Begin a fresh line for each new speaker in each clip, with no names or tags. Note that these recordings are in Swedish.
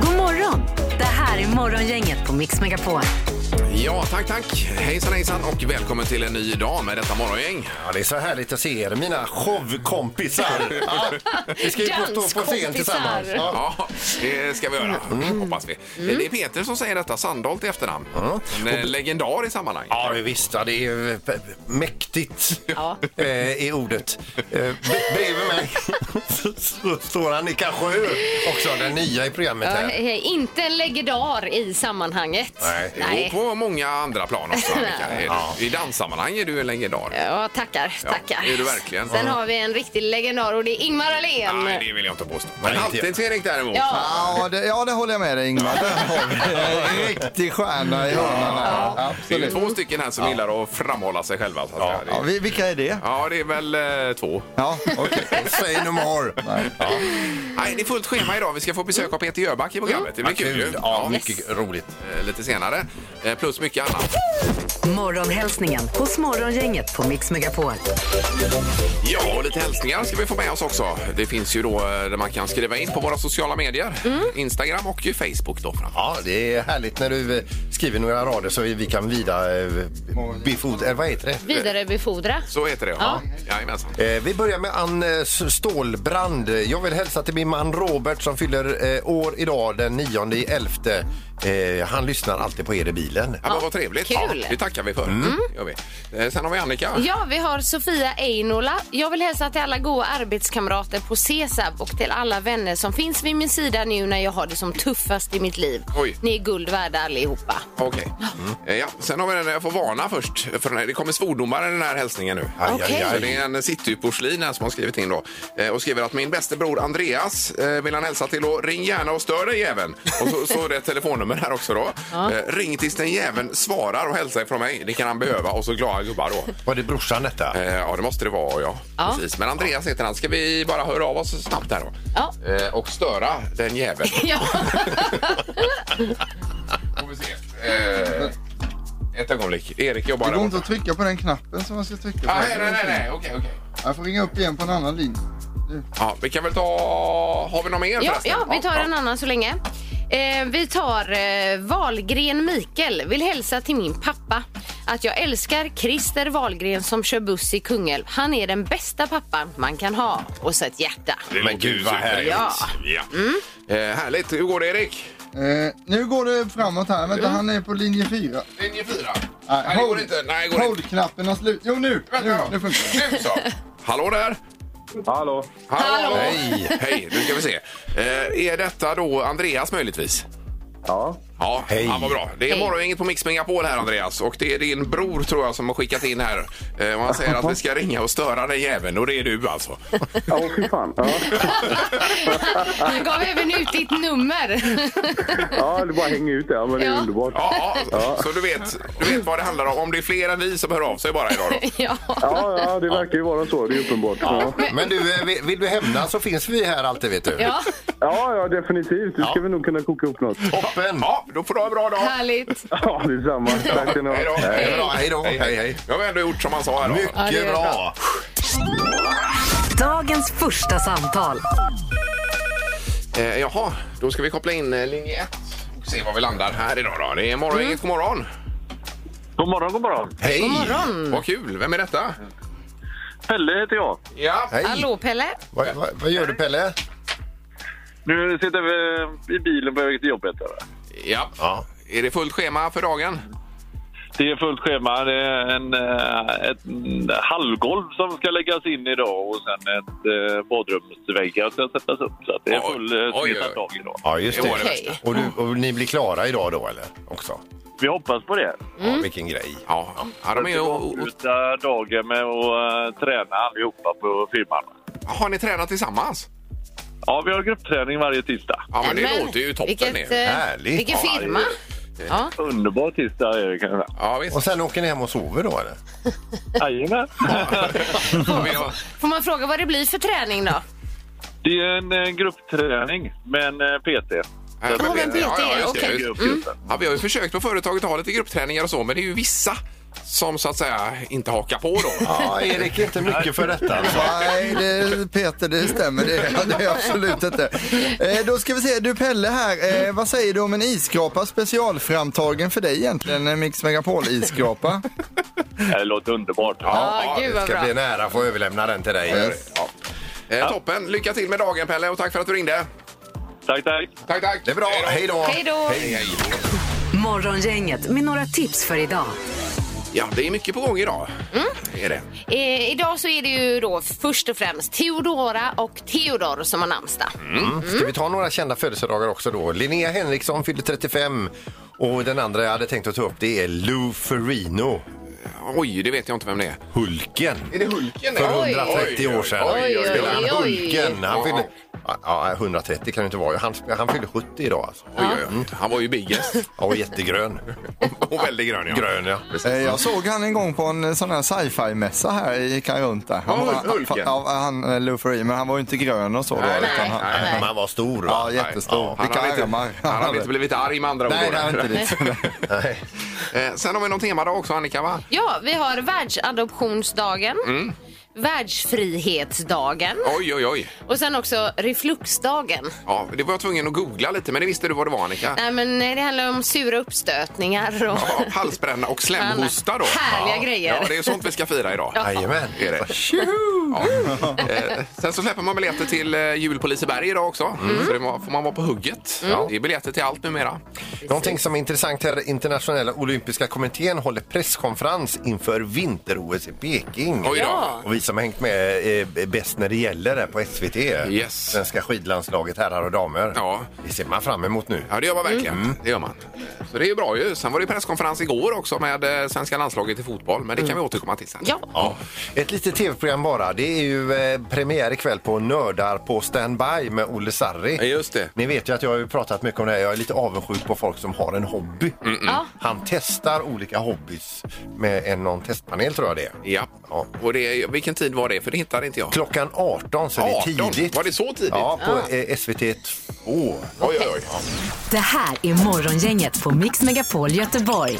God morgon! Det här är Morgongänget på Mix Megapol.
Ja, tack, tack. Hejsan, hejsan och välkommen till en ny dag med detta morgongäng.
Ja, det är så härligt att se er, mina showkompisar. Ja, vi ska ju på- stå på scen
Danskompisar.
tillsammans. Ja. Mm.
Ja, det ska vi göra, hoppas vi. Det är Peter som säger detta, Sandholt i efternamn. En eh, legendar i sammanhanget.
Ja, visst. Ja, det är ju p- mäktigt
Ja.
eh, i ordet. Eh, b- bredvid mig så står han i Kasjö också, den nya i programmet
Ja,
här.
eh, Inte en legendar i sammanhanget.
Nej.
Och på många andra plan också, Annika. Är du- I danssammanhang är du en legendar.
Ja, tackar,
Ja,
tackar.
är du verkligen?
Sen
Ja.
har vi en riktig legendar och det är Ingmar Ahlén.
Nej, det vill jag inte påstå.
Nej,
Men
inte jag.
Halvtids-Erik däremot.
Ja,
Ja det, ja, det håller jag med dig Ingmar. Där har vi en riktig stjärna i hörnan. här.
Det är ju
Absolut.
två stycken här som gillar att framhålla sig själva. Så att
Ja.
säga.
Ja, vi- vilka är det?
ja, det är väl eh, två.
Ja, okej.
Say no more. Ja,
Nej, det är fullt schema idag. Vi ska få besök av Peter Jöback i programmet. Det blir kul ju.
kul. Mm. Ja,
Ja,
mycket roligt.
eh, lite senare. Eh, Plus mycket annat.
Morgonhälsningen hos Morgongänget på Mix Megapol.
Ja, och lite hälsningar ska vi få med oss också. Det finns ju då eh, där man kan skriva in på våra sociala medier. Instagram och ju Facebook då framför
Ja, det är härligt när du eh, skriver några rader så vi kan vida eh, befod... Eller vad heter det?
vidarebefordra.
Så heter det, ja. Jajamensan.
Eh, Vi börjar med Ann eh, S- Stålbrand. Jag vill hälsa till min man Robert som fyller eh, år idag den 9 i 11. Han lyssnar alltid på er i bilen.
Ja, men vad trevligt.
kul.
Ja, det tackar vi för.
Mm.
Gör vi. Eh, Sen har vi Annika.
Ja, vi har Sofia Einola. Jag vill hälsa till alla goa arbetskamrater på CESAB och till alla vänner som finns vid min sida nu när jag har det som tuffast i mitt liv.
Oj.
Ni är guld värda allihopa.
Okej. Eh, Ja, sen har vi den där jag får varna först. För den här, det kommer svordomar i den här hälsningen nu.
Aj, aj,
Okej.
Så
aj.
det är en cityporslin här som har skrivit in då. Eh, och skriver att min bäste bror Andreas eh, vill han hälsa till och ring gärna och stör dig även. Och så, så är det ett telefonnummer här också då. Eh, ring tills den jäveln svarar och hälsar från mig. Det kan han behöva. Och så glada gubbar då.
Var det brorsan detta?
Eh, ja, det måste det vara ja.
Ja.
Precis. Men Andreas heter han. Ska vi bara höra av oss snabbt här då?
Ja.
Eh, och störa den jäveln.
Ja.
Får vi se. Eh, ett ögonblick. Erik jobbar
Det
där
går inte
borta.
att trycka på den knappen som man ska trycka på.
Ah, nej, nej, nej, nej. Okej, okej.
Jag får ringa upp igen på en annan linje. Nu.
Ja, vi kan väl ta... Har vi någon mer
Ja,
förresten?
ja, vi tar en annan så länge. Eh, vi tar eh, Valgren Mikael. Vill hälsa till min pappa att jag älskar Christer Valgren som kör buss i Kungälv. Han är den bästa pappan man kan ha. Och så ett hjärta.
Det
Men
låter
gud,
ju
vad
superhärligt.
härligt.
Ja. Eh, härligt. Hur går det, Erik?
Eh, nu går det framåt här. Vänta, han är på linje 4.
Linje 4.
Ah,
Nej, det går inte. Nej, det går inte.
Hold-knappen har slut. Jo, nu! Nu,
Vänta
nu
då.
funkar det.
Nu så. Hallå där!
Hallå.
Hallå!
Hej.
Hej, nu ska vi se. Eh, är detta då Andreas möjligtvis?
Ja.
Ja,
Hej.
han var bra. Det är
Hej.
morgongänget på Mix Megapol här Andreas och det är din bror tror jag som har skickat in här. Eh, och han säger att vi ska ringa och störa den jäveln och det är du alltså.
Åh, fy fan. Ja.
Han gav även ut ditt nummer.
ja, du bara hänger ut där, men det är
Ja.
underbart. Ja,
Ja, så du vet, du vet vad det handlar om. Om det är fler än vi som hör av sig bara idag då.
ja.
ja, det verkar ju vara så. Det är uppenbart. Ja,
Men du, eh, vill- vill du hämnas så finns vi här alltid vet du.
ja,
ja, ja definitivt. Nu ska
Ja.
vi nog kunna koka upp något.
Toppen!
Ja, då får du ha en bra dag.
härligt. Eh,
Ja, detsamma. Tack ska ni ha.
Hej då.
Det är bra. Hej då! Hej, hej.
Nu har vi ändå gjort som han sa här då.
Ja, det
Mycket
är
bra!
Dagens första samtal.
Eh, jaha, då ska vi koppla in eh, linje 1 och se var vi landar här idag då. Det är morgongänget, god morgon.
Mm. God morgon, god morgon.
Hej!
God morgon.
Vad kul, vem är detta?
Pelle heter jag.
Ja.
Hej!
Hallå Pelle.
Vad, vad, vad gör du Pelle?
Nu sitter vi i bilen på väg till jobbet. eller?
ja.
Ja.
Är det fullt schema för dagen?
Det är fullt schema. Det är en, eh, ett mm, hallgolv som ska läggas in idag och sen ett eh, badrumsväggar ska sättas upp. Så att det är
Oj,
full eh,
oj,
smetad
oj.
dag idag.
Ja, just
Det var det
det.
Okej.
bästa.
Och, du, och ni blir klara idag då eller? Också?
Vi hoppas på det.
Mm.
Ja, vilken grej.
Ja, ja de är ju... och-
avsluta dagen med att eh, träna allihopa på firman.
Har ni tränat tillsammans?
Ja, vi har gruppträning varje tisdag.
Ja, men det
Nämen,
låter ju toppen.
vilket,
ju.
eh,
Härligt.
Vilken
Ja,
firma. Ja.
Underbar tisdag är det kan jag säga.
Ja, visst.
Och sen åker ni hem och sover då eller?
Jajamän.
Vi har-
Får man fråga vad det blir för träning då?
Det är en eh, gruppträning med en eh, PT.
Ja,
men PT,
det- ja, ja, just det,
okej.
just det.
Grupp, just det.
Ja, vi har ju försökt på företaget att ha lite gruppträningar och så, men det är ju vissa som så att säga inte hakar på då.
Ja, Erik är inte mycket för detta. alltså.
Nej, det, Peter, det stämmer. Det, det är absolut inte. Eh, då ska vi se, du Pelle här. Eh, vad säger du om en isskrapa specialframtagen för dig egentligen? En Mix Megapol-isskrapa?
Det låter underbart.
Ja, gud
Det
vad
ska
bra.
bli en ära att få överlämna den till dig.
Yes.
Ja. Eh, Toppen! Lycka till med dagen Pelle och tack för att du ringde.
Tack, tack.
Tack, tack!
Det är bra. Hej då!
Hej då!
Morgongänget med några tips för idag. Mm.
Ja, det är mycket på gång idag. Är det.
Eh, idag så är det ju då först och främst Teodora och Theodor som har namnsdag.
Mm.
Mm.
Ska vi ta några kända födelsedagar också då? Linnea Henriksson fyllde 35 och den andra jag hade tänkt att ta upp det är Lou Ferrino,
Oj, det vet jag inte vem det är.
Hulken.
Är det Hulken?
För
Oj.
130 år sedan.
Oj, oj,
Spelade han
oj, oj.
Hulken. Han
Ja.
fyllde... Ja, 130 kan det inte vara. Han, han fyllde 70 idag alltså.
Oj, oj, oj. Han var ju biggest
Ja, och jättegrön.
och väldigt grön. Ja.
Grön, ja.
Eh, jag såg han en gång på en eh, sån här sci-fi-mässa här, gick han runt där. Han,
Ja,
var-
Hulken.
Ja, han, eh, Lou Ferrigno, men han var ju inte grön och så då.
Nej,
utan han,
Nej, men han var stor. va?
Ja, jättestor.
Ja.
Han
Vilka
hade, inte,
armar.
han hade inte blivit arg med andra
Nej,
ord.
det har inte det.
Nej.
Eh, Sen har vi någon temadag också, Annika, va?
Ja, vi har världsadoptionsdagen. Världsfrihetsdagen
Oj, oj, oj.
och sen också refluxdagen.
Ja, det var jag tvungen att googla lite, men det visste du vad det var, Annika.
Nej, men eh, det handlar om sura uppstötningar och
Ja, halsbränna och slemhosta då.
Härliga
ja.
grejer.
Ja, det är sånt vi ska fira idag.
Jajamän.
Är det. Ja. Eh, sen så släpper man biljetter till eh, jul på Liseberg idag också. Så det må- får man vara på hugget. Det är biljetter till allt numera.
Någonting som är intressant här, internationella olympiska kommittén håller presskonferens inför vinter-OS i Peking.
Oj då. Ja.
Och vi som har hängt med är bäst när det gäller det på SVT.
Yes.
Svenska skidlandslaget herrar och damer.
Ja.
Det ser man fram emot nu.
Ja, det gör man verkligen. Det gör man. Så det är ju bra ju. Sen var det ju presskonferens igår också med eh, svenska landslaget i fotboll, men det kan vi återkomma till sen.
Ja.
Ja. Ett litet tv-program bara. Det är ju eh, premiär ikväll på Nördar på standby med Olle Sarri.
Ja, just det.
Ni vet ju att jag har ju pratat mycket om det här. Jag är lite avundsjuk på folk som har en hobby.
Ja.
Han testar olika hobbys med en någon testpanel tror jag det är.
Ja.
Ja.
Och det, vilken tid var det? För det hittade inte jag.
Klockan 18 så det är
18?
tidigt.
Var det så tidigt?
Ja, på eh, SVT 2.
Oj, oj, oj. Ja.
Det här är Morgongänget på Mix Megapol Göteborg.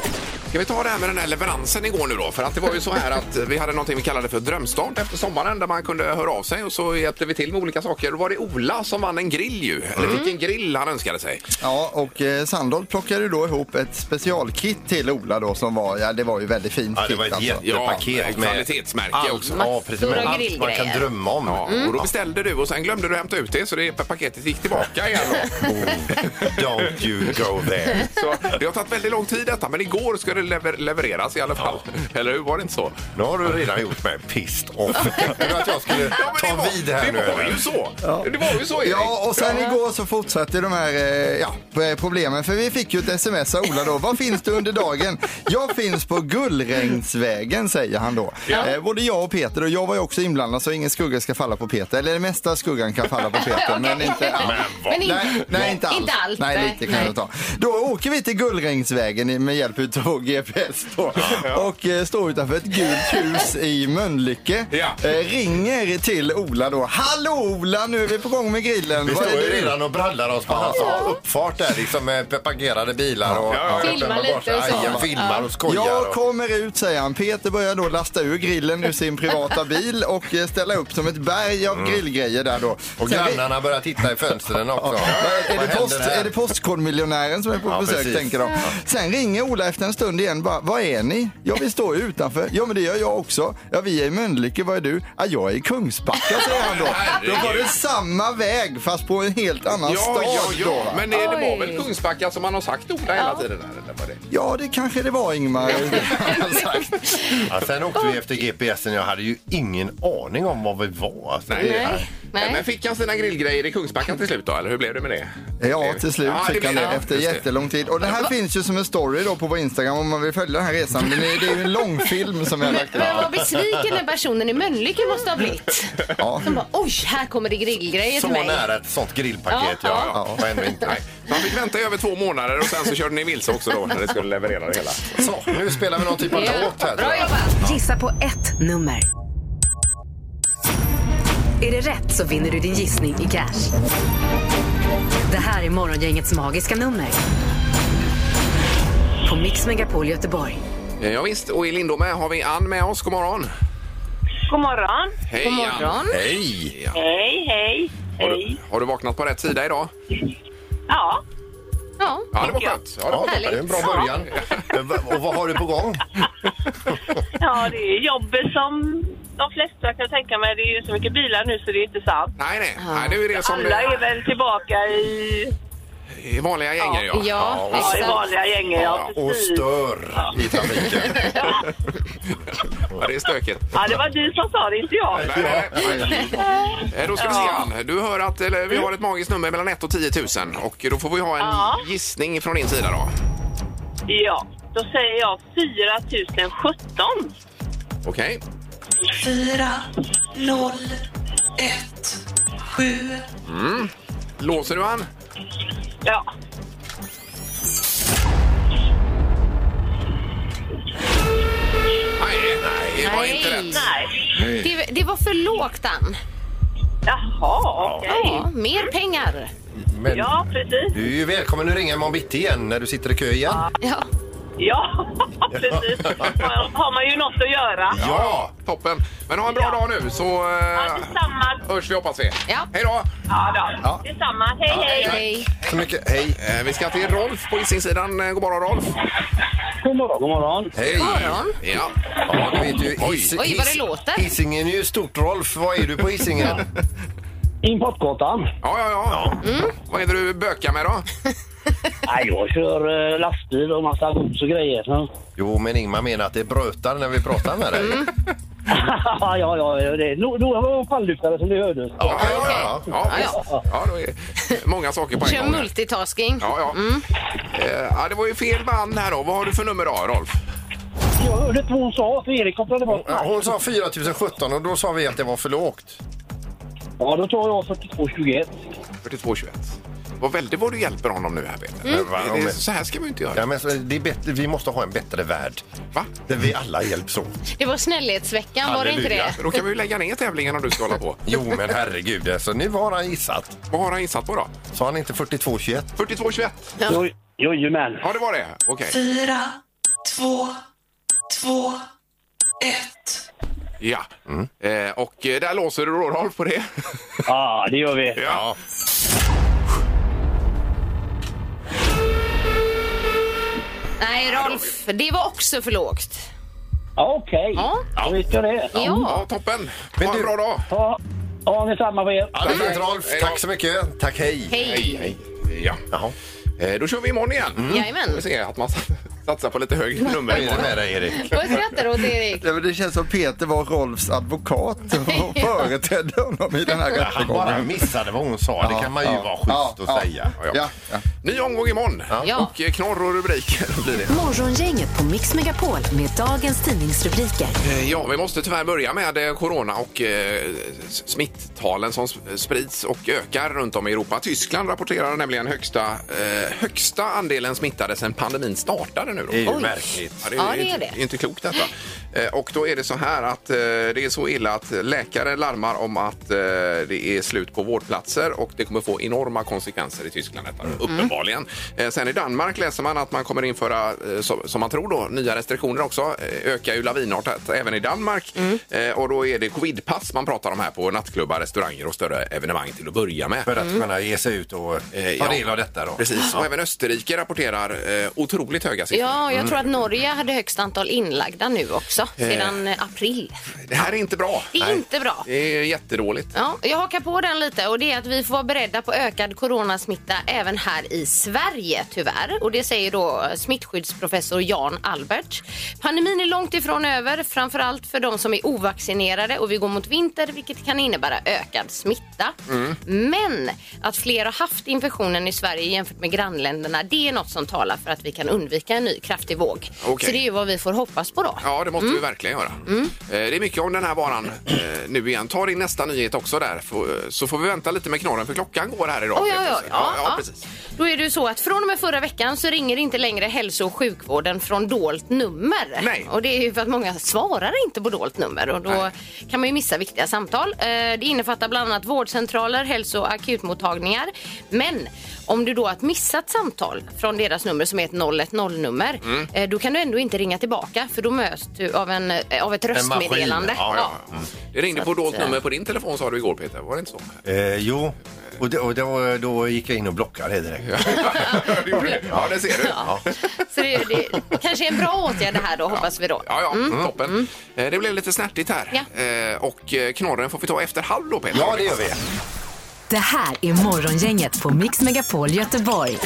Ska vi ta det här med den här leveransen igår nu då? För att det var ju så här att vi hade någonting vi kallade för drömstart efter sommaren där man kunde höra av sig och så hjälpte vi till med olika saker. Då var det Ola som vann en grill ju. Eller fick en grill han önskade sig.
Ja, och eh, Sandholt plockade ju då ihop ett specialkit till Ola då som var, ja det var ju väldigt fint
Ja, det var
kit,
ett
alltså.
jättepaket
Ja, kvalitetsmärke
allt,
också.
Ja, precis. Med
Massor av
allt man kan
grillgrejer.
drömma om.
Ja, och då beställde du och sen glömde du hämta ut det så det paketet gick tillbaka igen då.
Oh, don't you go there.
Så det har tagit väldigt lång tid detta men igår ska det lever- levereras i alla fall. Eller hur? Var det inte så?
Nu har du redan gjort mig pissed off. Tänkte du att jag skulle
Ja, men
ta
det var,
vid här
det
nu?
var
eller?
ju så! Det var ju så Erik.
Ja, och sen igår så fortsatte de här eh, ja, problemen. För vi fick ju ett sms av Ola då. Var finns du under dagen? Jag finns på Gullregnsvägen, säger han då. Eh, både jag och Peter, och jag var ju också inblandad så ingen skugga ska falla på Peter. Eller det mesta skuggan kan falla på Peter, men inte allt.
Men inte-
nej, nej, inte allt.
Inte allt,
Nej,
nej.
lite kan
Nej.
jag ta. Då åker vi till Gullregnsvägen i- med hjälp utav GPS då. Och eh, står utanför ett gult hus i Mölnlycke.
Ja.
Eh, ringer till Ola då. Hallå Ola, nu är vi på gång med grillen.
Vi
Vad
står
är
ju
det?
redan och brallar oss på hans uppfart där liksom med parkerade bilar och...
ja,
ja. Filmar lite och så.
Aj, jag filmar och skojar.
Jag
och-
kommer ut, säger han. Peter börjar då lasta ur grillen ur sin privata bil och eh, ställa upp som ett berg av grillgrejer där då.
Mm. Och
Sen-
grannarna börjar titta i fönstren också.
Är
Vad
det, post,
händer här?
är det Postkodmiljonären som är på
Ja,
besök
precis.
tänker de. Sen ringer Ola efter en stund igen. Bara, Vad är ni? Ja, vi står ju utanför. Ja, men det gör jag också. Ja, vi är i Mölnlycke. Vad är du? Ja, jag är i Kungsbacka, säger han då. Då var det samma väg fast på en helt annan
Ja,
stad.
ja,
då,
ja.
va?
Men det, det var
Oj.
väl Kungsbacka som man har sagt Ola hela tiden? Här, eller var det?
ja, det kanske det var Ingmar.
Ja, sen åkte vi efter GPSen. Jag hade ju ingen aning om var vi var. Alltså, det är-
Nej. Nej.
Men fick han sina grillgrejer i Kungsbacka till slut då, eller hur blev det med det?
Ja, till slut
Ja,
fick han det
blev-
efter
just det.
jättelång tid. Och det här finns ju som en story då på vår Instagram om man vill följa den här resan. Men det är det är ju en lång film som jag har lagt upp.
Men vad besviken den personen i Mölnlycke måste ha blivit.
Ja.
Som bara, oj, här kommer det grillgrejer
Så
till mig.
nära ett sånt grillpaket, ja.
Ja.
ja, Och ändå inte.
Nej. Så han fick vänta i över två månader och sen så körde ni vilse också då när det skulle leverera det hela.
Så, nu spelar vi någon typ av
Ja.
låt här. tror
Bra
jag.
jobbat.
Gissa på ett nummer. Är det rätt så vinner du din gissning i cash. Det här är Morgongängets magiska nummer. På Mix Megapol Göteborg.
Eh, Ja, visst, och i Lindome har vi Ann med oss. God morgon!
God morgon.
Hej
God morgon.
Ann! Hej! Ja.
Hej, hej.
Har, du, har du vaknat på rätt sida idag?
Ja,
Ja.
Ja, det var skönt. Ja, det var
Ja, det
toppen.
är en bra början. Och vad har du på gång?
ja, det är jobbet som de flesta kan tänka mig. Det är ju så mycket bilar nu så det är inte sant.
Nej, nej. nej. Nu är det som
Alla är
det
väl tillbaka i,
i vanliga gänger, ja.
Ja,
och-
ja, i
Exakt.
vanliga gänget. Ja,
Och
precis.
stör i trafiken.
ja, det är stökigt.
Ja, det var du som sa det, inte jag.
Nej, nej, nej. Eh, Då ska vi se,
Ja.
Ann. Du hör att eller, vi har ett magiskt nummer mellan 1 och 10 000. Och då får vi ha en
Ja.
gissning från din sida. då.
Ja, då säger jag 4017.
Okej. Mm. Låser du, Ann?
Ja.
Nej, nej, det var
Nej.
inte rätt.
Nej.
Det, det var för lågt, Ann.
Jaha, okej.
Ja, mer pengar.
Men
Ja, precis.
du är ju välkommen att ringa imorgon bitti igen när du sitter i kö igen.
Ja.
Ja, precis. Har- har man ju något att göra.
Ja, toppen. Men ha en bra
Ja.
dag nu så eh,
Ja, detsamma.
hörs vi hoppas vi.
Ja.
Hej då!
Ja, då. Detsamma. Hej, hej.
Hej.
Så mycket, hej.
Eh, Vi ska till Rolf på Hisingssidan. Eh, God morgon Rolf!
God morgon. God morgon.
Hej!
Morgon.
Ja.
Ja, du vet ju, his,
Oj, vad det låter.
Hisingen är ju stort, Rolf. Vad är du på Hisingen?
Importgatan.
Ja, ja, ja. Mm. Vad är det du bökar med då?
Nej, jag kör eh, lastbil och massa gods och grejer. Ja,
Jo, men Ingmar menar att det brötar när vi pratar med dig.
ja, ja. ja, Det är no- några var pannlyftare som det hördes.
Ja, ja, ja.
Ja,
Ja, ja då är det många saker på
Kör
en gång.
multitasking.
Ja, ja. Eh, ja, det var ju fel man här då. Vad har du för nummer då, Rolf?
Jag hörde inte vad hon sa, för Erik kopplade bort
Ja, Hon sa 4017 och då sa vi att det var för lågt.
Ja, då tar jag 4221.
4221. Vad väldigt vad du hjälper honom nu här, Peter.
Va,
Det,
om-
det, så här ska man ju inte
Ja,
göra.
men så- det är bättre, vi måste ha en bättre värld
Va?
där vi alla hjälps åt.
Det var snällhetsveckan, var det inte
Halleluja.
det?
Då kan vi ju lägga ner tävlingen om du ska hålla på.
Jo, men herregud. Alltså, nu har han gissat.
Vad har han insatt på då?
Sa han inte 4221?
4221.
Jo- Jojomän.
Ja, det var det. Okej. Ja.
Mm.
Eh, och eh, där låser du då, Rolf, på det.
Ja, det gör vi.
Ja.
Nej, Rolf, det var också för lågt.
Ja, Okej,
Ja.
då vet jag det.
Ja.
Ja, toppen.
Men
Ha en
du-
bra dag.
Ja, ja detsamma på er.
Ja, det är fint, Rolf. Tack så mycket. Tack, hej.
Hej.
Hej, hej. Ja.
Jaha. Mm.
Eh, då kör vi imorgon igen.
Jajamän.
Får vi se att man satsar på lite högre
Vad
nummer
är det
imorgon.
med dig, Erik?
Vad skrattar du åt, Erik?
Ja, men Det känns som Peter var Rolfs advokat och företrädde honom i den här
Han bara
rättegången.
missade vad hon sa. Det kan man ju
ja,
vara schysst
ja,
att
ja.
säga.
Ja, ja.
Ja, ja.
Ny omgång imorgon.
Ja.
Och eh, knorr och rubriker blir det.
Morgongänget på Mix Megapol med dagens tidningsrubriker.
Eh, Ja, vi måste tyvärr börja med eh, corona och eh, s- smitttalen som sp- sprids och ökar runt om i Europa. Tyskland rapporterar nämligen högsta, eh, högsta andelen smittade sedan pandemin startade nu. Då.
Det är ju Oj. märkligt.
Ja, det är,
Ja,
ju
det är
inte,
det.
inte klokt detta. Eh, och då är det så här att eh, det är så illa att läkare larmar om att eh, det är slut på vårdplatser och det kommer få enorma konsekvenser i Tyskland detta, uppenbarligen. Eh, sen i Danmark läser man att man kommer införa, eh, som, som man tror då, nya restriktioner också. Eh, ökar ju lavinartat även i Danmark. Eh, och då är det covidpass man pratar om här på nattklubbar, restauranger och större evenemang till att börja med.
För att kunna ge sig ut och
Eh,
ta
ja.
del av detta. Då.
Precis, och även Österrike rapporterar eh, otroligt höga siffror.
Ja, jag tror att Norge hade högst antal inlagda nu också. också sedan eh, april.
Det här är inte bra.
Det är
Nej.
inte bra.
Det är jättedåligt.
Ja, jag hakar på den lite och det är att vi får vara beredda på ökad coronasmitta även här i Sverige tyvärr. Och det säger då smittskyddsprofessor Jan Albert. Pandemin är långt ifrån över, framförallt för de som är ovaccinerade och vi går mot vinter vilket kan innebära ökad smitta.
Mm.
Men att fler har haft infektionen i Sverige jämfört med grannländerna, det är något som talar för att vi kan undvika en ny kraftig våg.
Okej.
Så det är ju vad vi får hoppas på då.
Ja, det måste vi verkligen göra. Eh, Det är mycket om den här varan eh, nu igen. Ta din nästa nyhet också där, få- eh, så får vi vänta lite med knorren för klockan går här idag.
Oj, oj, oj.
ja, ja, precis.
Då är det ju så att från och med förra veckan så ringer inte längre hälso och sjukvården från dolt nummer.
Nej.
Och det är ju för att många svarar inte på dolt nummer och då
Nej.
kan man ju missa viktiga samtal. Eh, Det innefattar bland annat vårdcentraler, hälso och akutmottagningar. Men om du då har ett missat samtal från deras nummer som är ett 010-nummer,
Mm.
eh, då kan du ändå inte ringa tillbaka för då möts du av, en, eh, av ett röstmeddelande.
ja, Mm.
Ja, ja. Det ringde på
Så att,
dolt
eh,
nummer på din telefon sa du igår Peter, var det inte så?
Eh, jo, och, då, och då, då gick jag in och blockade det direkt.
Du gjorde det. ja, det ser du.
Ja. Så det, det kanske är en bra åtgärd det här då, hoppas vi då.
Ja, ja, toppen. Eh, Det blev lite snärtigt här.
Ja.
Eh, Och eh, knorren får vi ta efter halv då, Peter.
Ja, det gör vi.
Det här är Morgongänget på Mix Megapol Göteborg.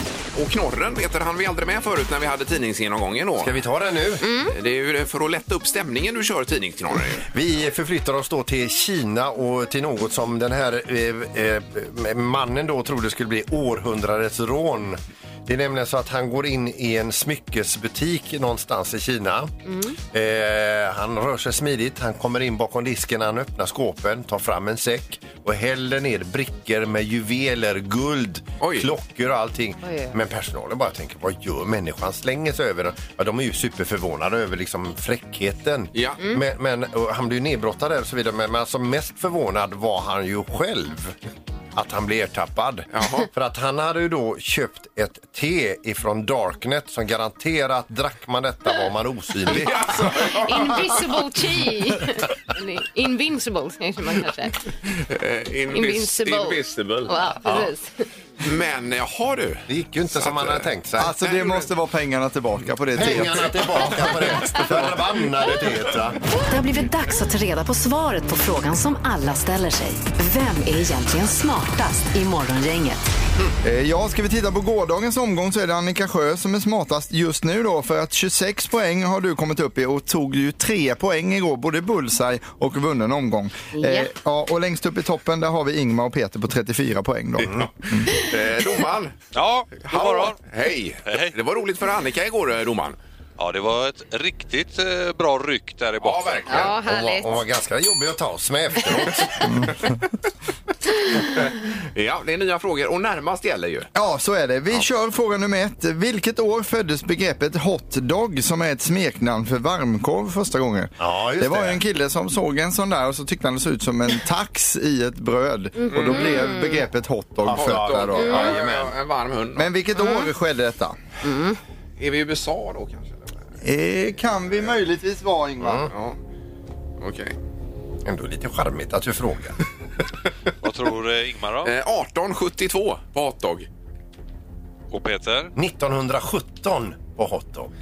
Och knorren, Peter, han vi aldrig med förut när vi hade tidningsgenomgången då. Eh,
Ska vi ta den nu?
Det är ju för att lätta upp stämningen du kör tidningsknorren. ju.
Vi förflyttar oss då till Kina och till något som den här eh, eh, mannen då trodde skulle bli århundradets rån. Det är nämligen så att han går in i en smyckesbutik någonstans i Kina.
Mm.
Eh, han rör sig smidigt, han kommer in bakom disken, han öppnar skåpen, tar fram en säck och häller ner brickor med juveler, guld,
Oj.
klockor och allting.
Oj, oj.
Men personalen bara tänker, vad gör människan? Slänger sig över den. Ja, de är ju superförvånade över liksom fräckheten.
Ja.
Men, men och han blev ju nedbrottad där och så vidare. Men, men alltså mest förvånad var han ju själv att han blev ertappad.
Jaha.
För att han hade ju då köpt ett te ifrån Darknet som garanterat drack man detta var man osynlig.
Invisible chi. Eller Invincible kanske man kanske.
Eh, invis-
Invincible. Ja, precis.
Men eh, jaha du.
Det gick ju inte som han hade tänkt sig.
Alltså det måste vara pengarna tillbaka på det teet.
Pengarna tillbaka på det förbannade teet. va?
Det har blivit dags att ta reda på svaret på frågan som alla ställer sig. Vem är egentligen smartast i Morgongänget?
Eh, Ja, ska vi titta på gårdagens omgång så är det Annika Sjö som är smartast just nu då för att 26 poäng har du kommit upp i och tog ju tre poäng igår, både bullseye och vunnen omgång.
Ja.
Eh, ja, och längst upp i toppen där har vi Ingmar och Peter på 34 poäng då.
Mm.
Eh, domaren.
Ja, god morgon.
Hej.
Hej.
Det var roligt för Annika igår, eh, domaren.
Ja, det var ett riktigt eh, bra ryck där i
Ja,
botten.
verkligen.
Ja,
Hon var,
härligt.
hon var ganska jobbig att ta oss med efteråt.
Ja, det är nya frågor och närmast gäller ju.
Ja, så är det. Vi kör fråga nummer ett. Vilket år föddes begreppet hotdog som är ett smeknamn för varmkorv första gången?
Ja, just
det var
det.
ju en kille som såg en sån där och så tyckte han det såg ut som en tax i ett bröd. Och då blev begreppet hotdog fött där då.
Ja, ja, en varm hund.
Men vilket år skedde detta?
Är vi i USA då kanske? eller?
Eh, kan vi möjligtvis vara Ingvar?
Ja. Okej.
Ändå lite charmigt att du frågar.
Vad tror eh, Ingmar då?
Eh, 1872 på hotdog.
Och Peter?
1917 på hotdog.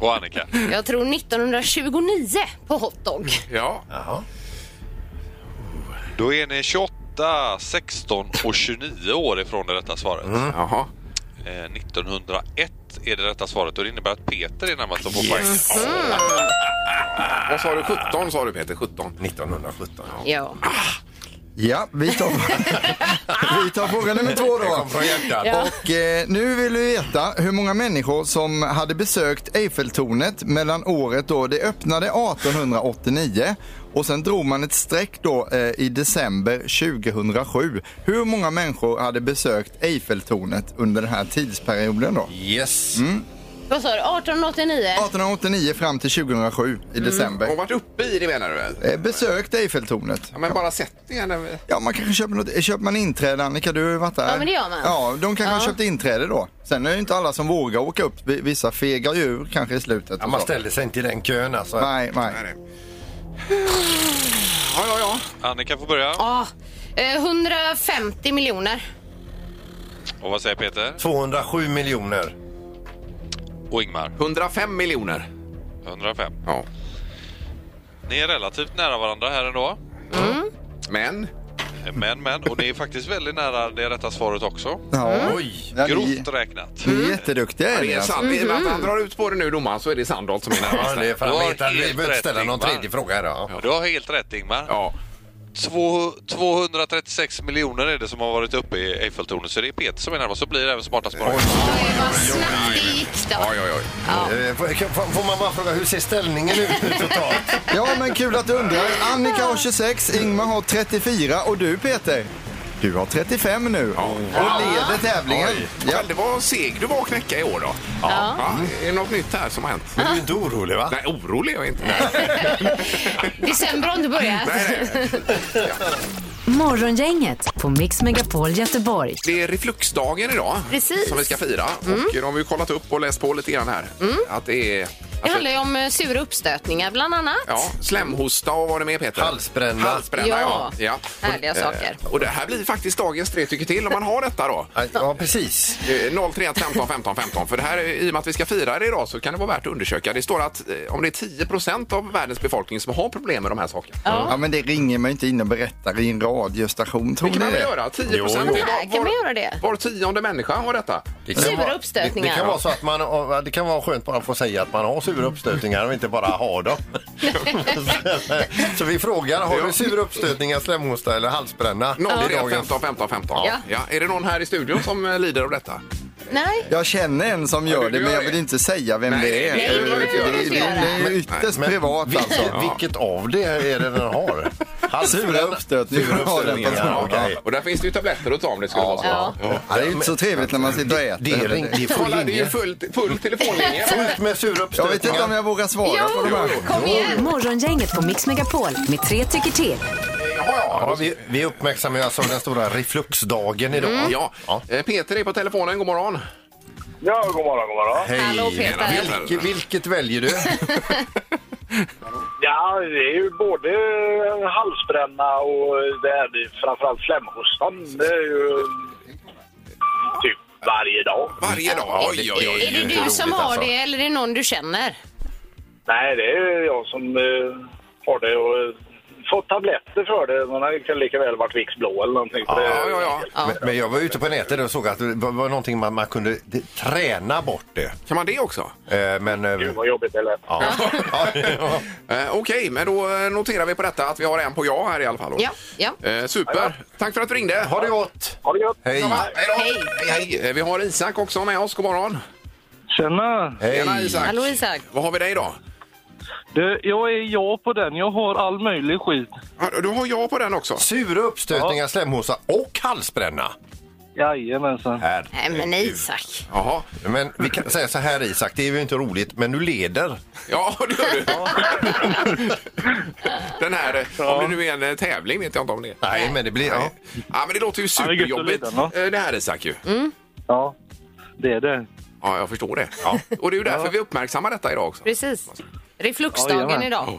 Och Annika?
Jag tror 1929 på hotdog.
Ja.
Jaha.
Då är ni 28, 16 och 29 år ifrån det rätta svaret.
Jaha.
Eh, 1901 är det rätta svaret och det innebär att Peter är närmast att få poäng.
Vad sa du? 17 sa du Peter. 17.
1917.
Ja.
Ja, vi tar, vi tar fråga nummer två
Det
då.
kom från hjärtat.
Och eh, nu vill vi veta hur många människor som hade besökt Eiffeltornet mellan året då det öppnade 1889 och sen drog man ett streck då eh, i december 2007. Hur många människor hade besökt Eiffeltornet under den här tidsperioden då?
Yes.
Mm.
Vad sa du? 1889?
1889 fram till 2007 i december.
Hon varit uppe i det menar du? väl?
Eh, besökt Eiffeltornet.
Ja, men bara eh, sett det eller?
Ja, man kanske köper något. Köper man inträde, Annika? Du har ju varit där.
Ja, men det gör man.
Ja, de kanske har
Ja.
köpt inträde då. Sen är det ju inte alla som vågar åka upp. V- Vissa fegar ju ur kanske i slutet.
Ja,
och
man
så.
ställde sig inte i den kön alltså.
Nej, nej.
Nej, nej. Ja, ja, ja.
Annika får börja.
Ja. Eh, 150 miljoner.
Och vad säger Peter?
207 miljoner.
Och Ingmar?
105 miljoner.
105.
Ja.
Ni är relativt nära varandra här ändå. Eh,
Men?
Men, men. Och ni är faktiskt väldigt nära det rätta svaret också.
Ja. Mm. Oj. Ja, ni-
Grovt räknat.
Ni är jätteduktiga.
Ja, det är
Elias.
sant. I och med att han drar ut på det nu, domaren, så är det Sandholt som är närmast.
Ja, det är för
Du
att
har
vi inte vi
helt
behöver inte
rätt,
ställa någon
Ingmar.
tredje fråga här. Då.
Du har helt rätt Ingmar.
Ja.
Två- 236 miljoner är det som har varit uppe i Eiffeltornet, så det är Peter som är närmast. Så blir det även smartast bara.
Oj, vad snabbt det gick då.
Oj, oj, oj.
Eh, får- Får får man bara fråga, hur ser ställningen ut nu totalt?
alltså. Ja, men kul att du undrar. Annika har 26, Ingmar har 34 och du Peter, du har 35 nu och leder tävlingen. Ja.
Själv, det var seg du var att knäcka i år då. Ja. Är det något nytt här som har hänt?
Men du är ju inte orolig va?
Nej, orolig är jag inte. Nej,
December har inte börjat.
nej, nej.
Morgongänget på Mix Megapol Göteborg.
Det är refluxdagen idag
Precis.
som vi ska fira. Och de har vi ju kollat upp och läst på lite grann här. Att det är... alltså,
Det handlar ju om eh, sura uppstötningar bland annat.
Ja, slemhosta och vad var det med Peter?
Halsbränna.
Halsbränna, ja.
Ja, härliga
Och-
saker.
eh, Och det här blir faktiskt dagens tre tycker till om man har detta då.
Ja, Ja, precis.
Eh, 031 15 15 15. För det här, är- i och med att vi ska fira det idag så kan det vara värt att undersöka. Det står att eh, om det är 10 procent av världens befolkning som har problem med de här sakerna.
ja, men det ringer man inte in och berättar i en radiostation, tror
Det kan
ni
man väl
det?
göra? 10 procent?
Jo,
jo. Nej, kan man göra det?
Var tionde människa har detta.
Det
Sura
vara-
uppstötningar.
Det, det kan vara så att man, det kan vara skönt bara att få säga att man har sura uppstötningar och inte bara har dem. så vi frågar, har du sura uppstötningar, slemhosta eller halsbränna? Det är
031
dagens.
15 15 15.
Ja.
Ja. Är det någon här i studion som eh, lider av detta?
Nej,
Jag känner en som
Ja,
gör
du
det, men
gör
jag
det.
vill inte säga vem
Nej,
det är.
nej,
Det,
det får du inte göra.
det, det är
Men-
ytterst
nej, men-
privat alltså.
Vilket, vilket av det är det den har? Alltså,
Sura uppstötningar har den
uppstötningar,
personen.
ja, okej.
Och där finns det ju tabletter att ta om det skulle vara så.
Ja.
Ja, det är ju inte så trevligt när man sitter och äter.
Det är, ring- det är full
Kolla, det är ju
linje.
full, full telefonlinje.
Fullt med sura
Jag vet inte om
uppstötningar.
jag vågar svara på de här.
kom igen.
Morgongänget på Mix Megapol med tre tycker till.
Ja, vi, vi uppmärksammar ju alltså den stora refluxdagen idag.
Ja. Eh, Peter är på telefonen. God morgon.
Ja, god morgon, god morgon.
Hej.
Hallå, Peter.
Vilket, vilket väljer du?
Ja, det är ju både halsbränna och det här, det är framförallt slemhostan. Det är ju typ varje dag.
Varje dag. Oj, oj,
Är
oj.
det
inte
du som
roligt,
har
alltså.
det eller är det någon du känner?
Nej, det är jag som eh, har det och eh, fått tabletter för det. Man har kan lika väl varit Vicks blå eller någonting. för det-
Ja, ja, ja.
Men, men jag var ute på nätet och såg att det var var någonting man, man kunde det, träna bort det.
Kan man det också?
Eh, men... eh,
Gud vad jobbigt det lät.
Ja. Ja.
Eh, Okej, men då eh, noterar vi på detta att vi har en på ja här i alla fall. då.
Ja, ja.
Eh, super. Tack för att du ringde.
Ha det gott!
Ha det gött!
Hej!
Hej, då. hej, hej. Eh, Vi har Isak också med oss. God morgon.
Tjena!
Tjena
Hej!
Isak.
Hallå Isak.
Vad har vi dig idag?
Du, jag är ja på den. Jag har all möjlig skit.
Ja, Du har ja på den också.
Sura uppstötningar, slemhosa och halsbränna.
Jajamensan.
Här.
Nej men Isak.
Jaha.
Men vi kan säga så här Isak, det är ju inte roligt, men du leder.
Ja, det gör du. Den här, eh, om det nu är en eh, tävling vet jag inte om det är.
Nej, men det blir... Ja.
Ja, men det låter ju
det är gött att
superjobbigt
leda, va?
eh, det här Isak ju.
Ja, det är det.
Ja, jag förstår det. Ja. Och det är ju därför vi uppmärksammar detta idag också.
Precis.
Ja,
Refluxdagen
jajamän.
idag.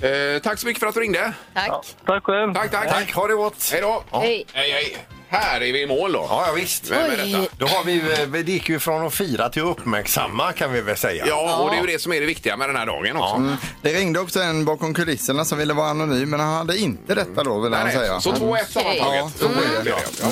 Eh, tack så mycket för att du ringde.
Tack.
Tack själv.
Tack, tack.
Tack, ha det gott!
Hej då.
Hej.
Hej, hej. Här är vi i mål då.
Ja, ja visst.
Vem är detta?
Då har vi ju, eh, det gick ju från att fira till att uppmärksamma kan vi väl säga.
Ja, och det är ju det som är det viktiga med den här dagen också.
Mm. Det ringde också en bakom kulisserna som ville vara anonym, men han hade inte detta då, vill han
Nej,
säga.
Så 2-1
Ja,
sammantaget.
så blir det.
Mm. Ja.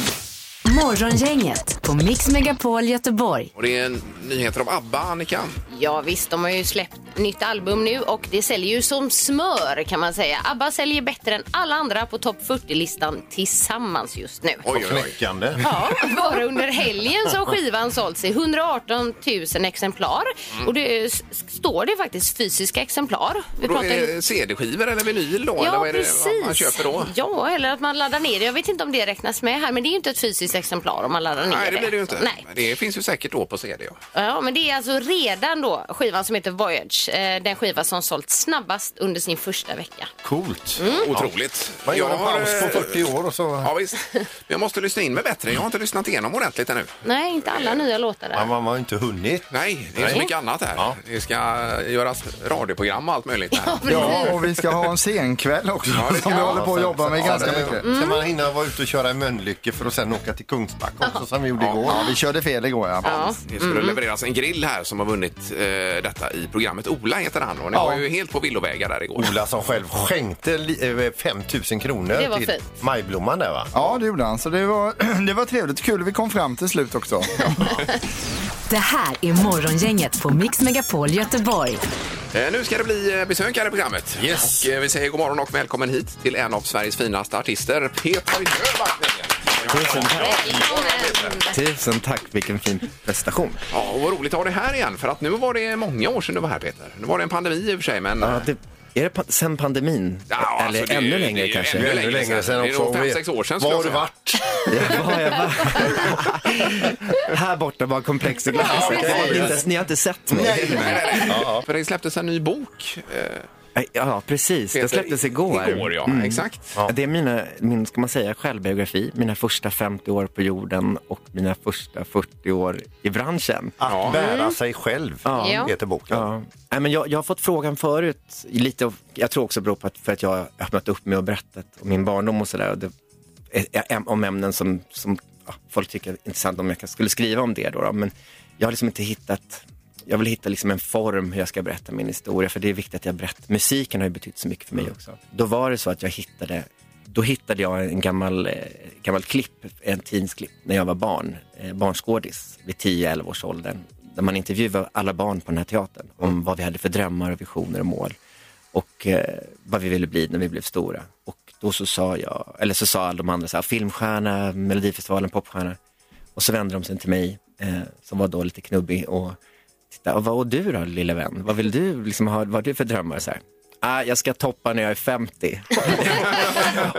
Morgongänget på Mix Megapol Göteborg.
Och det är en nyheter om ABBA, Annika.
Ja visst, de har ju släppt nytt album nu och det säljer ju som smör kan man säga. ABBA säljer bättre än alla andra på topp 40-listan tillsammans just nu.
Oj, oj, oj.
Knäckande.
Ja, bara under helgen så har skivan sålts i 118 000 exemplar.
Mm.
Och det s- står det faktiskt fysiska exemplar. Vi
Och då
pratar
är det CD-skivor eller vinyl då? eller vad är det vad man köper då?
Ja, eller att man laddar ner det. Jag vet inte om det räknas med här, men det är ju inte ett fysiskt exemplar om man laddar ner
Nej, det blir det ju inte.
Nej.
Men Det finns ju säkert då på CD. Ja.
Ja, men det är alltså redan då skivan som heter Voyage, eh, den skiva som sålt snabbast under sin första vecka.
Coolt.
Mm.
Otroligt.
Man gör en
Jag har,
paus på
eh,
40 år och så...
Ja, visst. Jag måste lyssna in mig bättre. Jag har inte lyssnat igenom ordentligt ännu.
Nej, inte alla nya låtar där.
Man, man har ju inte hunnit.
Nej, det är så
Nej.
mycket annat här.
Ja.
Det ska göras radioprogram och allt möjligt. Här.
Ja, och vi ska ha en scenkväll också som vi håller på att jobba med ganska mycket.
Mm.
Ska man hinna vara ute och köra i Mölnlycke för att sen åka till Kungsbacka också som vi gjorde igår?
Ja, vi körde fel igår ja.
Ja.
Mm-hmm.
Det skulle levereras en grill här som har vunnit eh, detta i programmet. Ola heter han och ni
Ja.
var ju helt på villovägar där igår.
Ola som själv skänkte li- eh, 5 000 kronor
Det var
till
fint.
Majblomman där va?
Ja, det gjorde han. Så det var, det var trevligt och kul. Vi kom fram till slut också.
Det här är Morgongänget på Mix Megapol Göteborg.
Mm.
Eh, Nu ska det bli eh, besök här i programmet. Och eh, vi säger god morgon och välkommen hit till en av Sveriges finaste artister, Peter Jöback.
Tusen tack. Tusen tack, vilken fin prestation.
Ja, och vad roligt att ha dig här igen, för att nu var det många år sedan du var här Peter. Nu var det en pandemi i och för sig, men...
Ja, det, är det pa- sen pandemin?
Ja,
Eller
alltså, det är-
ännu
det är
längre
ju
kanske?
ännu längre Ännu längre sedan. Det är nog fem, sex år sedan,
Var
skulle
har
jag
du varit?
säga.
ja, var har jag varit? Här borta bara komplexet.
Ja,
Ni har
precis.
inte ens- Ni har inte sett mig.
För det släpptes en ny bok. eh,
Ja, precis.
Peter,
Den släpptes igår. Mm.
igår, ja, exakt.
Det är mina, min, ska man säga, självbiografi. Mina första 50 år på jorden och mina första 40 år i branschen.
Att bära sig själv
Ja.
heter boken.
Ja. Nej, men jag, jag har fått frågan förut, i lite, av- jag tror också beror på att, för att jag har öppnat upp mig och berättat om min barndom och sådär. och det- ä- ä- Om ämnen som, som ja, folk tycker är intressant om jag kan- skulle skriva om det. Då, då. Men jag har liksom inte hittat, jag vill hitta liksom en form hur jag ska berätta min historia. För det är viktigt att jag berättar, musiken har ju betytt så mycket för mig också. Då var det så att jag hittade då hittade jag en gammal, eh, gammal klipp, en tidningsklipp, när jag var barn, eh, barnskådis vid 10-11 års åldern. Där man intervjuade alla barn på den här teatern om
Mm.
vad vi hade för drömmar och visioner och mål. Och eh, vad vi ville bli när vi blev stora. Och då så sa jag, eller så sa alla de andra så här, filmstjärna, Melodifestivalen, popstjärna. Och så vände de sig till mig, eh, som var då lite knubbig och titta, och vad och du då lilla vän? Vad vill du liksom ha, vad har du för drömmar? Så här, ah, jag ska toppa när jag är 50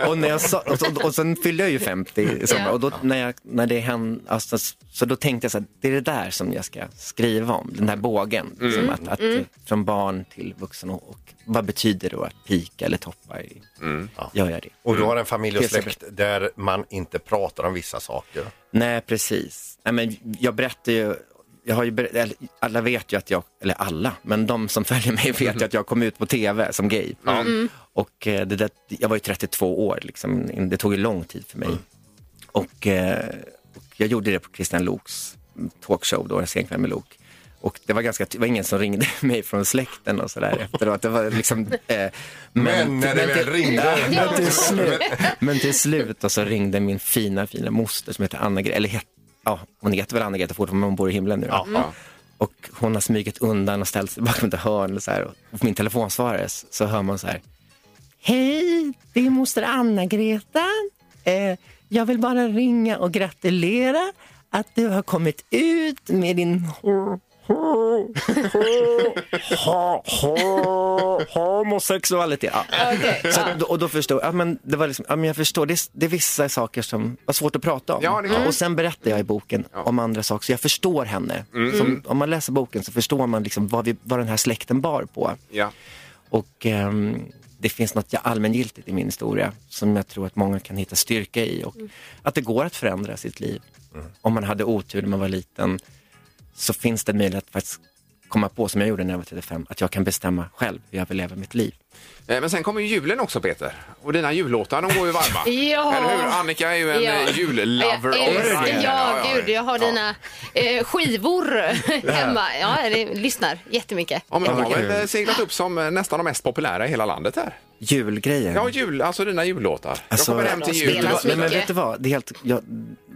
och, när jag sa, och, och, och sen fyllde jag ju 50 i sommar.
Ja.
Och då, när jag, när det hände, alltså, så då tänkte jag så här, det är det där som jag ska skriva om. Den där bågen.
Mm.
Liksom, att, att,
Mm.
Från barn till vuxen. Och, och vad betyder då att pika eller toppa? I, Gör jag det.
Och du har en familj och
Det är så
släkt där man inte pratar om vissa saker.
Nej, precis. Nej, men jag berättar ju, jag har ju ber- eller, alla vet ju att jag, eller alla, men de som följer mig vet ju att jag kom ut på tv som gay.
Ja. Mm.
Och eh, det där, jag var ju 32 år, liksom. det tog ju lång tid för
Mm.
mig. Och, eh, och jag gjorde det på Christian Loks talkshow, då, en sen kväll med Lok. Och det var, ganska, det var ingen som ringde mig från släkten och sådär efteråt. Det var liksom, eh, men,
Men när det väl
till-
ringde.
Ja, men till slut, men till slut och så ringde min fina, fina moster som heter anna eller het, ja, hon heter väl Anna-Greta fortfarande, men hon bor i himlen nu. då.
Ja.
Och hon har smugit undan och ställt sig bakom ett hörn och så här. Och på min telefonsvarare så hör man så här, Hej, det är moster Anna-Greta. Eh, jag vill bara ringa och gratulera att du har kommit ut med din ha, ha, homosexualitet. Ja.
Okej,
Så,
ja.
då- och då förstod ja, men det var liksom, ja, men jag förstår, det, är- det är vissa saker som var svårt att prata om.
Ja, det är klart.
och sen berättar jag i boken om andra saker, så jag förstår henne.
Mm.
Som, om man läser boken så förstår man liksom vad, vi, vad den här släkten bar på.
Ja.
Och ehm, det finns något allmängiltigt i min historia som jag tror att många kan hitta styrka i. Och att det går att förändra sitt liv. Om man hade otur när man var liten så finns det möjlighet att faktiskt komma på, som jag gjorde när jag var 35, att jag kan bestämma själv hur jag vill leva mitt liv.
Eh, Men sen kommer ju julen också Peter. Och dina jullåtar, de går ju varma.
Ja.
Eller hur? Annika är ju en
Ja.
eh, jullover.
Jag älskar-
också.
Ja, gud, jag har dina eh, skivor hemma. Ja, det, lyssnar jättemycket.
Ja, men de har
Ja,
väl
kul.
eh, seglat upp som eh, nästan de mest populära i hela landet här.
Julgrejen.
Ja, jul, alltså dina jullåtar.
Alltså,
jag kommer hem till jul.
vet du, vad- nej, men vet du vad? Det är helt, jag,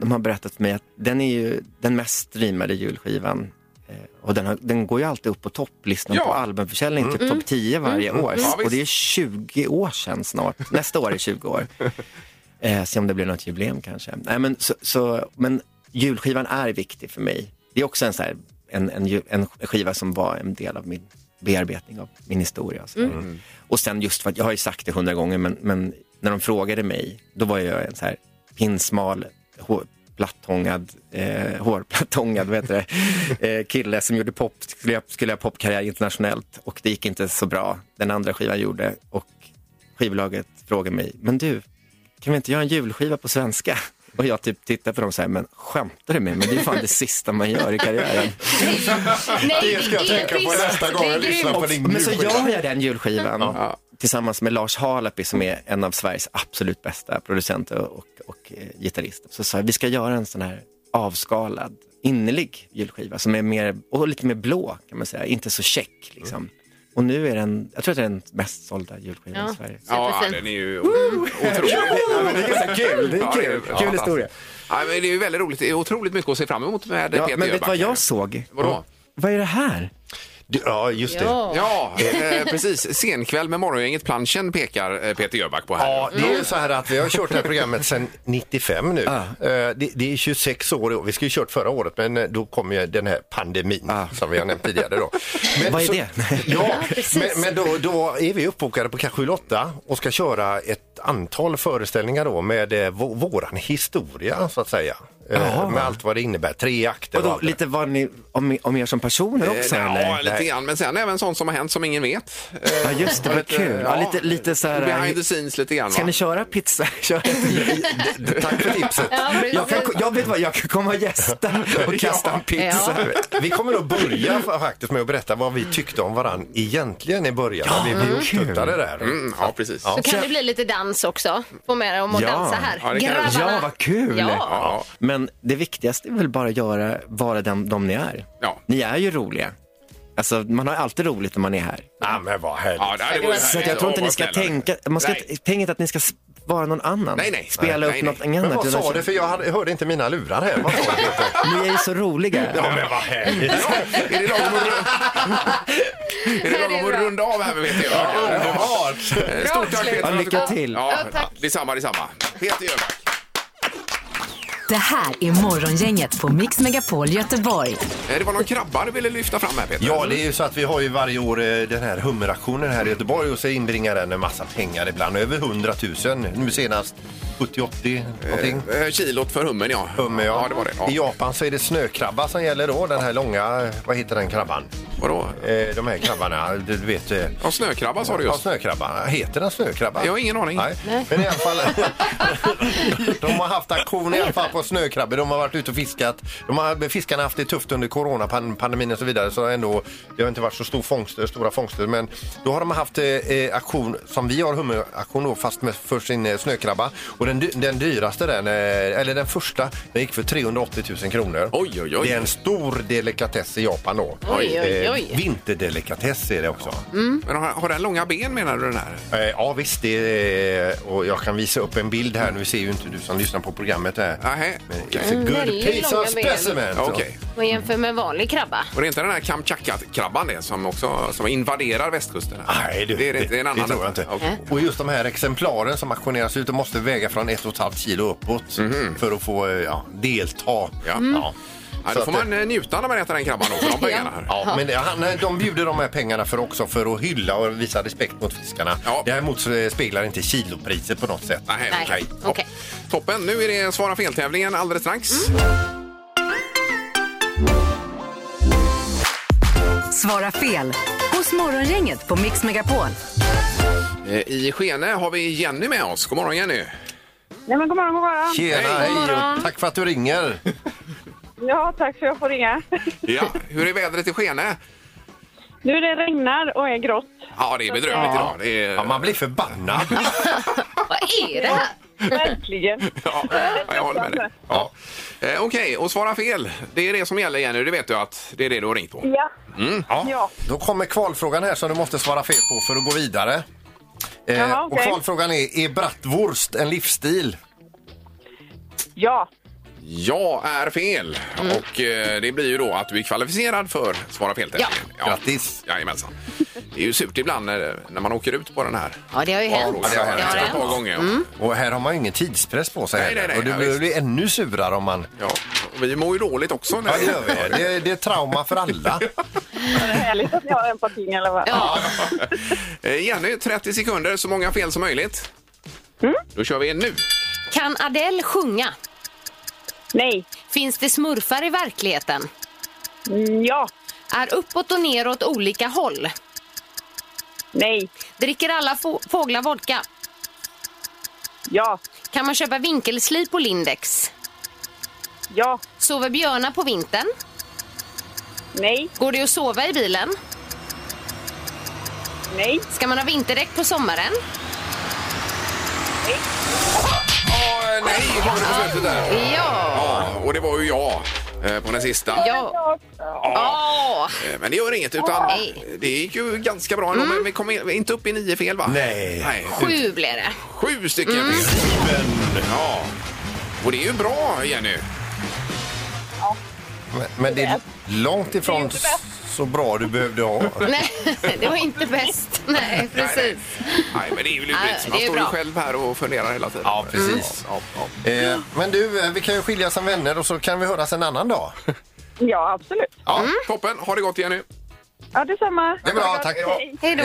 de har berättat för mig att den är ju den mest streamade julskivan. Eh, Och den, har, den går ju alltid upp på topplistan
Ja.
på albumförsäljning, typ
Mm.
topp 10 varje
Mm.
år.
Mm. Ja, visst.
och det är 20 år sedan snart. Nästa år är 20 år. Eh, se om det blir något jubileum kanske. Nej, men, så, så, men julskivan är viktig för mig. Det är också en, så här, en, en, ju- en skiva som var en del av min bearbetning av min historia. Så.
Mm.
Och sen just för att, jag har ju sagt det hundra gånger, men, men när de frågade mig, då var jag en så här pinsmal, hår, plattångad, eh, hårplattångad vad heter det, eh, kille som gjorde pop, skulle jag, skulle jag popkarriär internationellt och det gick inte så bra, den andra skivan gjorde. Och skivbolaget frågade mig, men du, kan vi inte göra en julskiva på svenska? Och jag typ tittar på dem så här, men skämtar du med mig? Det är ju fan det sista man gör i karriären.
Nej, det ska jag tänka på nästa gång jag lyssnar på din
Men så
julskiva.
gör jag den julskivan tillsammans med Lars Harlapi som är en av Sveriges absolut bästa producenter och, och, eh, gitarrister. Så sa jag, vi ska göra en sån här avskalad innerlig julskiva som är mer, och lite mer blå kan man säga, inte så check liksom. Och nu är den, jag tror att det är den mest sålda julskivan
Ja,
i Sverige.
Ja, den är ju otrolig.
Ja, men det är ganska kul. Det är
Ja,
kul.
är
Kul
fantastiskt.
historia.
Ja, men det är ju väldigt roligt. Det är otroligt mycket att se fram emot med
Ja,
Peter
men vet du vad
Jöback.
jag såg?
Vadå?
Vad är det här?
Ja, just
det. Ja.
Ja, eh, precis. Senkväll med morgongänget Planschen pekar eh, Peter Jöback på här.
Ja, det är ju så här att vi har kört det här programmet sedan 95 nu. Eh, Det, det är 26 år i år. Vi skulle ju kört förra året men eh, då kom ju den här pandemin som vi har nämnt tidigare då. Men
Vad är
så-
det?
Ja, men, men då, då är vi uppbokade på kanske 8 och ska köra ett antal föreställningar då med eh, vå- våran historia så att säga. Eh,
Jaha.
Med allt vad det innebär, tre akter.
Vadå,
allt det där.
lite vad ni, om, om er som personer också?
Eh,
eller?
Ja, lite grann. Men sen även sånt som har hänt som ingen vet. Eh,
Ja, just det, vad kul. Ja, lite, lite så här...
Behind the scenes lite grann.
Ska
va?
ni köra pizza? Kör ett-
Tack för tipset.
Ja, precis.
jag, kan, jag vet vad, jag kan komma och gästa och kasta en pizza.
Vi kommer nog börja faktiskt med att berätta vad vi tyckte om varann egentligen i början.
Ja,
när vi blev
mm.
upptuttade där.
Mm, ja, precis.
Så kan det bli lite dans också. Få med dem att dansa här.
ja, vad kul!
Ja.
Men det viktigaste är väl bara att göra, vara den, de ni är.
Ja.
Ni är ju roliga. Alltså, man har alltid roligt när man är här.
Ja, men vad härligt.
Ja, det här
Så
vore
att
härligt.
jag tror inte
Ja,
ni ska
vad snälla.
tänka, man ska,
Nej.
tänk inte att ni ska s- vara någon annan.
Nej, nej.
Spela
Nej,
upp
nej,
något
nej.
annat.
Men vad sa
utan-
du? För jag hade, hörde inte mina lurar här. Vad sa du?
Ni är ju så roliga.
Ja, men vad härligt.
Är det lagom att runda- Är det lagom att runda av här med Peter Jöback?
Underbart!
Eh, Stort tack Peter.
Ja, lycka till.
Ja, ja, detsamma, detsamma. Peter Jöback.
Det här är Morgongänget på Mix Megapol Göteborg.
Eh, Det var någon krabba du ville lyfta fram här Peter.
Ja, det är ju så att vi har ju varje år eh, den här hummeraktionen här i Göteborg och så inbringar den en massa pengar ibland, över 100 000. Nu senast 70-80 någonting.
Eh, eh, Kilot för hummen ja.
Hummer, ja.
Ja, det var det.
I
Ja.
Japan så är det snökrabba som gäller då, den här långa, vad heter den krabban?
Vadå?
Eh, de här krabbarna, du vet... eh,
Ja, snökrabba sa du
Ja,
just.
snökrabba. Heter den snökrabba?
Jag har ingen aning.
Nej. Men i alla fall, de har haft aktion i alla fall på snökrabbor. De har varit ute och fiskat. De har, fiskarna har haft det tufft under coronapandemin och så vidare. Så ändå, det har inte varit så stor fångster, stora fångster. Men då har de haft eh, eh, aktion, som vi har hummeraktion då, fast med, för sin eh, snökrabba. Och den, dy- den dyraste, den, eh, eller den första, den gick för 380 000 kronor.
Oj, oj, oj.
Det är en stor delikatess i Japan då.
Oj, oj, oj.
Eh, Vinterdelikatess är det också.
Men har, har den långa ben menar du den här?
Eh, Ja visst, det är, och jag kan visa upp en bild här. Nu ser ju inte du som lyssnar på programmet det här.
Nej.
Men it's a good
Väldigt
piece
långa
of
ben.
specimen.
Okej.
Och jämför med vanlig krabba.
Och det är inte den här Kamchatka-krabban det som också som invaderar västkusten?
Nej, du,
det är, det, det är en annan.
tror jag inte.
Okej.
Och just de här exemplaren som auktioneras ut, de måste väga från ett och ett halvt kilo uppåt för att få eh, ja, delta.
Mhm.
Mm. Ja.
Ja. Ja,
Så
då
att,
får man eh, njuta när man äter den krabban då, för de pengarna här.
Ja, men det- han, eh, de bjuder de här pengarna för också för att hylla och visa respekt mot fiskarna. Däremot så, eh, speglar inte kilopriset på något sätt.
Nej,
Nej,
okej. Mm.
okej.
Toppen, nu är det Svara fel-tävlingen alldeles strax.
Svara fel hos Morgongänget på Mix Megapol.
Eh, I Skene har vi Jenny med oss. God morgon Jenny!
Nej, men god morgon, god morgon.
Tjena, hej och
morgon.
tack för att du ringer.
Ja, tack för att jag får ringa.
Ja, hur är vädret i Skene?
Nu det regnar och är grått.
Ja, det är bedrövligt idag. Det är...
Ja, man blir förbannad.
Vad är det här?
Verkligen.
Ja, jag håller med dig. Ja. Eh, Okej, och svara fel. Det är det som gäller Jenny, det vet du att det är det du har ringt på.
Ja.
Mm.
Ja.
Då kommer kvalfrågan här som du måste svara fel på för att gå vidare. Eh,
Jaha,
Och
okej.
kvalfrågan är, är bratwurst en livsstil?
Ja.
Ja är fel. Och eh, det blir ju då att du är kvalificerad för Svara fel-tävlingen. Ja.
Grattis!
Jajamensan. Det är ju surt ibland när, när man åker ut på den här.
Ja, det har ju hänt.
Ja, Mm. det har
Det
hänt
har
ett par
hänt.
gånger. ja.
Och här har man ju ingen tidspress på sig
Nej,
heller.
nej, nej,
och
ja,
det blir-
visst.
blir ännu surare om man...
Ja, och vi mår ju dåligt också. När
Ja, det gör vi. Det, är- det är trauma för alla.
Det är härligt att ni har empatin i alla fall.
Ja.
Eh, Jenny, 30 sekunder, så många fel som möjligt.
Mm.
Då kör vi nu.
Kan Adele sjunga?
Nej.
Finns det smurfar i verkligheten?
Mm, ja.
Är uppåt och neråt olika håll?
Nej.
Dricker alla få- fåglar vodka?
Ja.
Kan man köpa vinkelslip på Lindex?
Ja.
Sover björnar på vintern?
Nej.
Går det att sova i bilen?
Nej.
Ska man ha vinterdäck på sommaren?
Åh, Ah, nej, kom det på slutet där.
Ja!
Ja, och det var ju jag. eh, på den sista.
Ja. Ja.
Eh, Men det gör inget, utan det gick ju ganska bra ändå. Men vi kom in, inte upp i nio fel, va? Nej.
Mm. Sju Mm. blev det.
Sju stycken fel. Ja. Och det är ju bra, Jenny.
Men, men det är långt ifrån så bra du behövde ha.
Nej, det var inte bäst. Nej, precis.
Nej, men det är ju
Nej,
lurigt.
det
Man
är
står ju
bra.
själv här och funderar hela tiden. Mm.
Ja, precis.
Ja, ja,
Eh, men du, eh, vi kan ju skiljas som vänner och så kan vi höras en annan dag.
Ja, absolut.
ja.
Mm.
Toppen. Ha det gott, Jenny.
Ja, detsamma.
Det är bra, tack.
Hej då.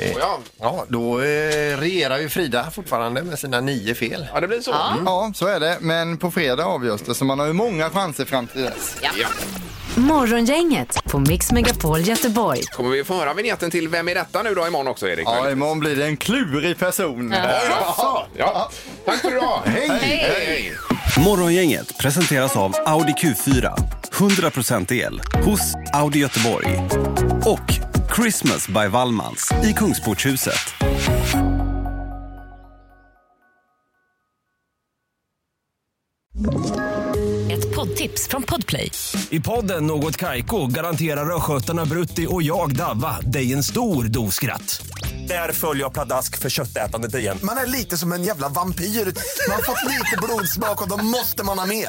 Eh,
ja.
då eh, regerar ju Frida fortfarande med sina nio fel.
Ja, det blir så.
Ja, så är det. Men på fredag avgörs det, så man har ju många chanser fram till dess.
Morgongänget på Mix Megapol Göteborg.
Kommer vi få höra vignetten till Vem är detta nu då imorgon också, Erik?
Ja, imorgon blir det en klurig person.
Ja. Ja. Tack för idag. Hej. Hej. Hej.
Morgongänget presenteras av Audi Q4. 100% el hos Audi Göteborg. Och Christmas by Wallmans i Kungsportshuset.
Ett poddtips från Podplay.
I podden Något Kaiko garanterar östgötarna Brutti och jag, Davva, dig en stor dos skratt. Där följer jag pladask för köttätandet igen.
Man är lite som en jävla vampyr. Man har fått lite blodsmak och då måste man ha mer.